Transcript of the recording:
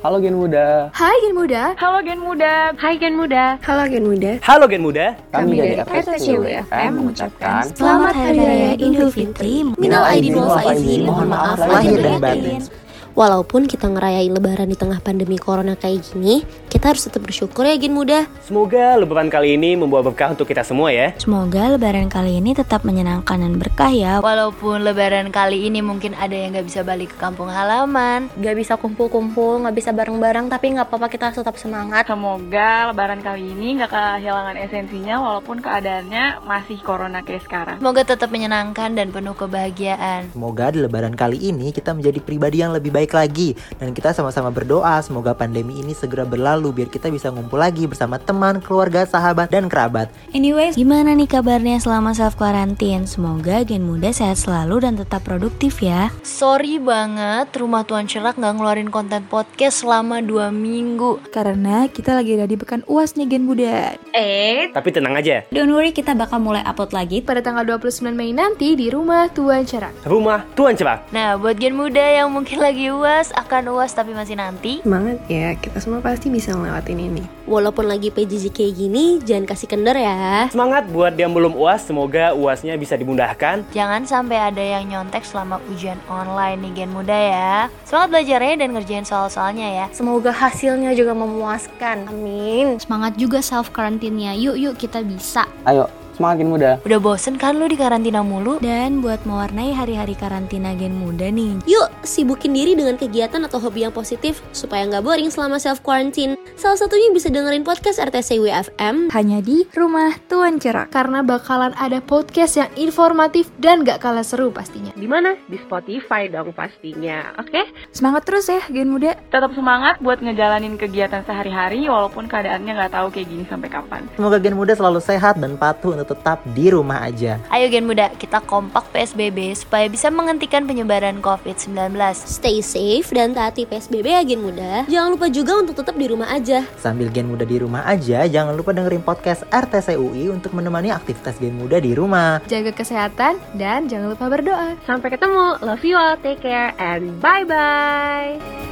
Halo Gen Muda. Hai Gen Muda. Halo Gen Muda. Hai Gen Muda. Halo Gen Muda. Halo Gen Muda. Kami, Kami dari dari FSCW FM FM mengucapkan Selamat Hari Raya Idul Fitri. Minal Minal aidin Aidin wal wal faizin. Faizin. Mohon maaf lahir dan batin. Walaupun kita ngerayain lebaran di tengah pandemi corona kayak gini, kita harus tetap bersyukur ya Gen Muda. Semoga lebaran kali ini membawa berkah untuk kita semua ya. Semoga lebaran kali ini tetap menyenangkan dan berkah ya. Walaupun lebaran kali ini mungkin ada yang nggak bisa balik ke kampung halaman. Gak bisa kumpul-kumpul, gak bisa bareng-bareng, tapi gak apa-apa kita harus tetap semangat. Semoga lebaran kali ini nggak kehilangan esensinya walaupun keadaannya masih corona kayak sekarang. Semoga tetap menyenangkan dan penuh kebahagiaan. Semoga di lebaran kali ini kita menjadi pribadi yang lebih baik lagi dan kita sama-sama berdoa semoga pandemi ini segera berlalu biar kita bisa ngumpul lagi bersama teman, keluarga, sahabat dan kerabat. Anyways, gimana nih kabarnya selama self quarantine? Semoga Gen Muda sehat selalu dan tetap produktif ya. Sorry banget, Rumah Tuan Cerak nggak ngeluarin konten podcast selama dua minggu. Karena kita lagi ada di Pekan UAS nih Gen Muda. Eh, Tapi tenang aja, Don't worry, kita bakal mulai upload lagi. Pada tanggal 29 Mei nanti di rumah Tuan Cerak. rumah Tuan Cepak. Nah, buat Gen Muda yang mungkin lagi uas, akan uas tapi masih nanti. semangat ya. Kita semua pasti bisa ngelewatin ini. Walaupun lagi PJJ kayak gini, jangan kasih kendor ya. Semangat buat yang belum UAS, semoga UASnya bisa dimudahkan. Jangan sampai ada yang nyontek selama ujian online nih Gen Muda ya. Semangat belajarnya dan ngerjain soal-soalnya ya. Semoga hasilnya juga memuaskan. Amin. Semangat juga self karantinnya. Yuk yuk kita bisa. Ayo, semangat Gen Muda. Udah bosen kan lu di karantina mulu? Dan buat mewarnai hari-hari karantina Gen Muda nih, Yuk, sibukin diri dengan kegiatan atau hobi yang positif supaya nggak boring selama self quarantine. Salah satunya bisa dengerin podcast RTCW FM. Hanya di rumah Tuan Cerak. Karena bakalan ada podcast yang informatif dan gak kalah seru pastinya. Di mana? Di Spotify dong pastinya. Oke. Semangat terus ya Gen Muda. Tetap semangat buat ngejalanin kegiatan sehari-hari walaupun keadaannya nggak tahu kayak gini sampai kapan. Semoga Gen Muda selalu sehat dan patuh untuk tetap di rumah aja. Ayo Gen Muda, kita kompak PSBB supaya bisa menghentikan penyebaran COVID-19. Stay safe dan taati PSBB ya Gen Muda. Jangan lupa juga untuk tetap di rumah aja. Sambil Gen Muda di rumah aja, jangan lupa dengerin podcast RTCUI untuk menemani aktivitas Gen Muda di rumah. Jaga kesehatan dan jangan lupa berdoa. Sampai ketemu. Love you all. Take care and bye bye.